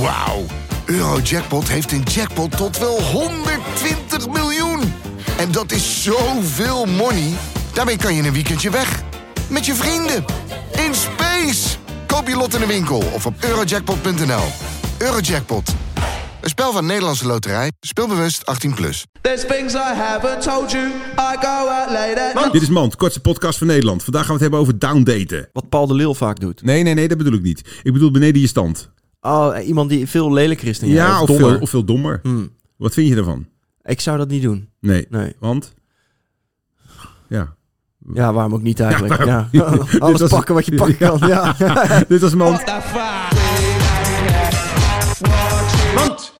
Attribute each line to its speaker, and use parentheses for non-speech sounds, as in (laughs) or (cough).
Speaker 1: Wauw. Eurojackpot heeft een jackpot tot wel 120 miljoen. En dat is zoveel money. Daarmee kan je in een weekendje weg. Met je vrienden. In space. Koop je lot in de winkel of op eurojackpot.nl. Eurojackpot. Een spel van Nederlandse Loterij. Speelbewust 18+. Plus.
Speaker 2: There's things I haven't told you. I go out late at night.
Speaker 3: Dit is Mand, kortste podcast van Nederland. Vandaag gaan we het hebben over downdaten.
Speaker 4: Wat Paul de Leeuw vaak doet.
Speaker 3: Nee, nee, nee, dat bedoel ik niet. Ik bedoel beneden je stand.
Speaker 4: Oh, eh, iemand die veel lelijker is dan
Speaker 3: Ja,
Speaker 4: jij.
Speaker 3: of,
Speaker 4: dommer.
Speaker 3: veel, of veel dommer. Wat vind je ervan?
Speaker 4: Ik zou dat niet doen.
Speaker 3: Nee.
Speaker 4: Nee.
Speaker 3: Want? Ja. (laughs)
Speaker 4: Ja, waarom ook niet eigenlijk? Ja,
Speaker 3: Dit
Speaker 4: (laughs) Alles
Speaker 3: was-
Speaker 4: pakken wat je
Speaker 3: (laughs)
Speaker 4: pakken kan. Ja.
Speaker 3: Dit was Mand.
Speaker 2: What the fuck?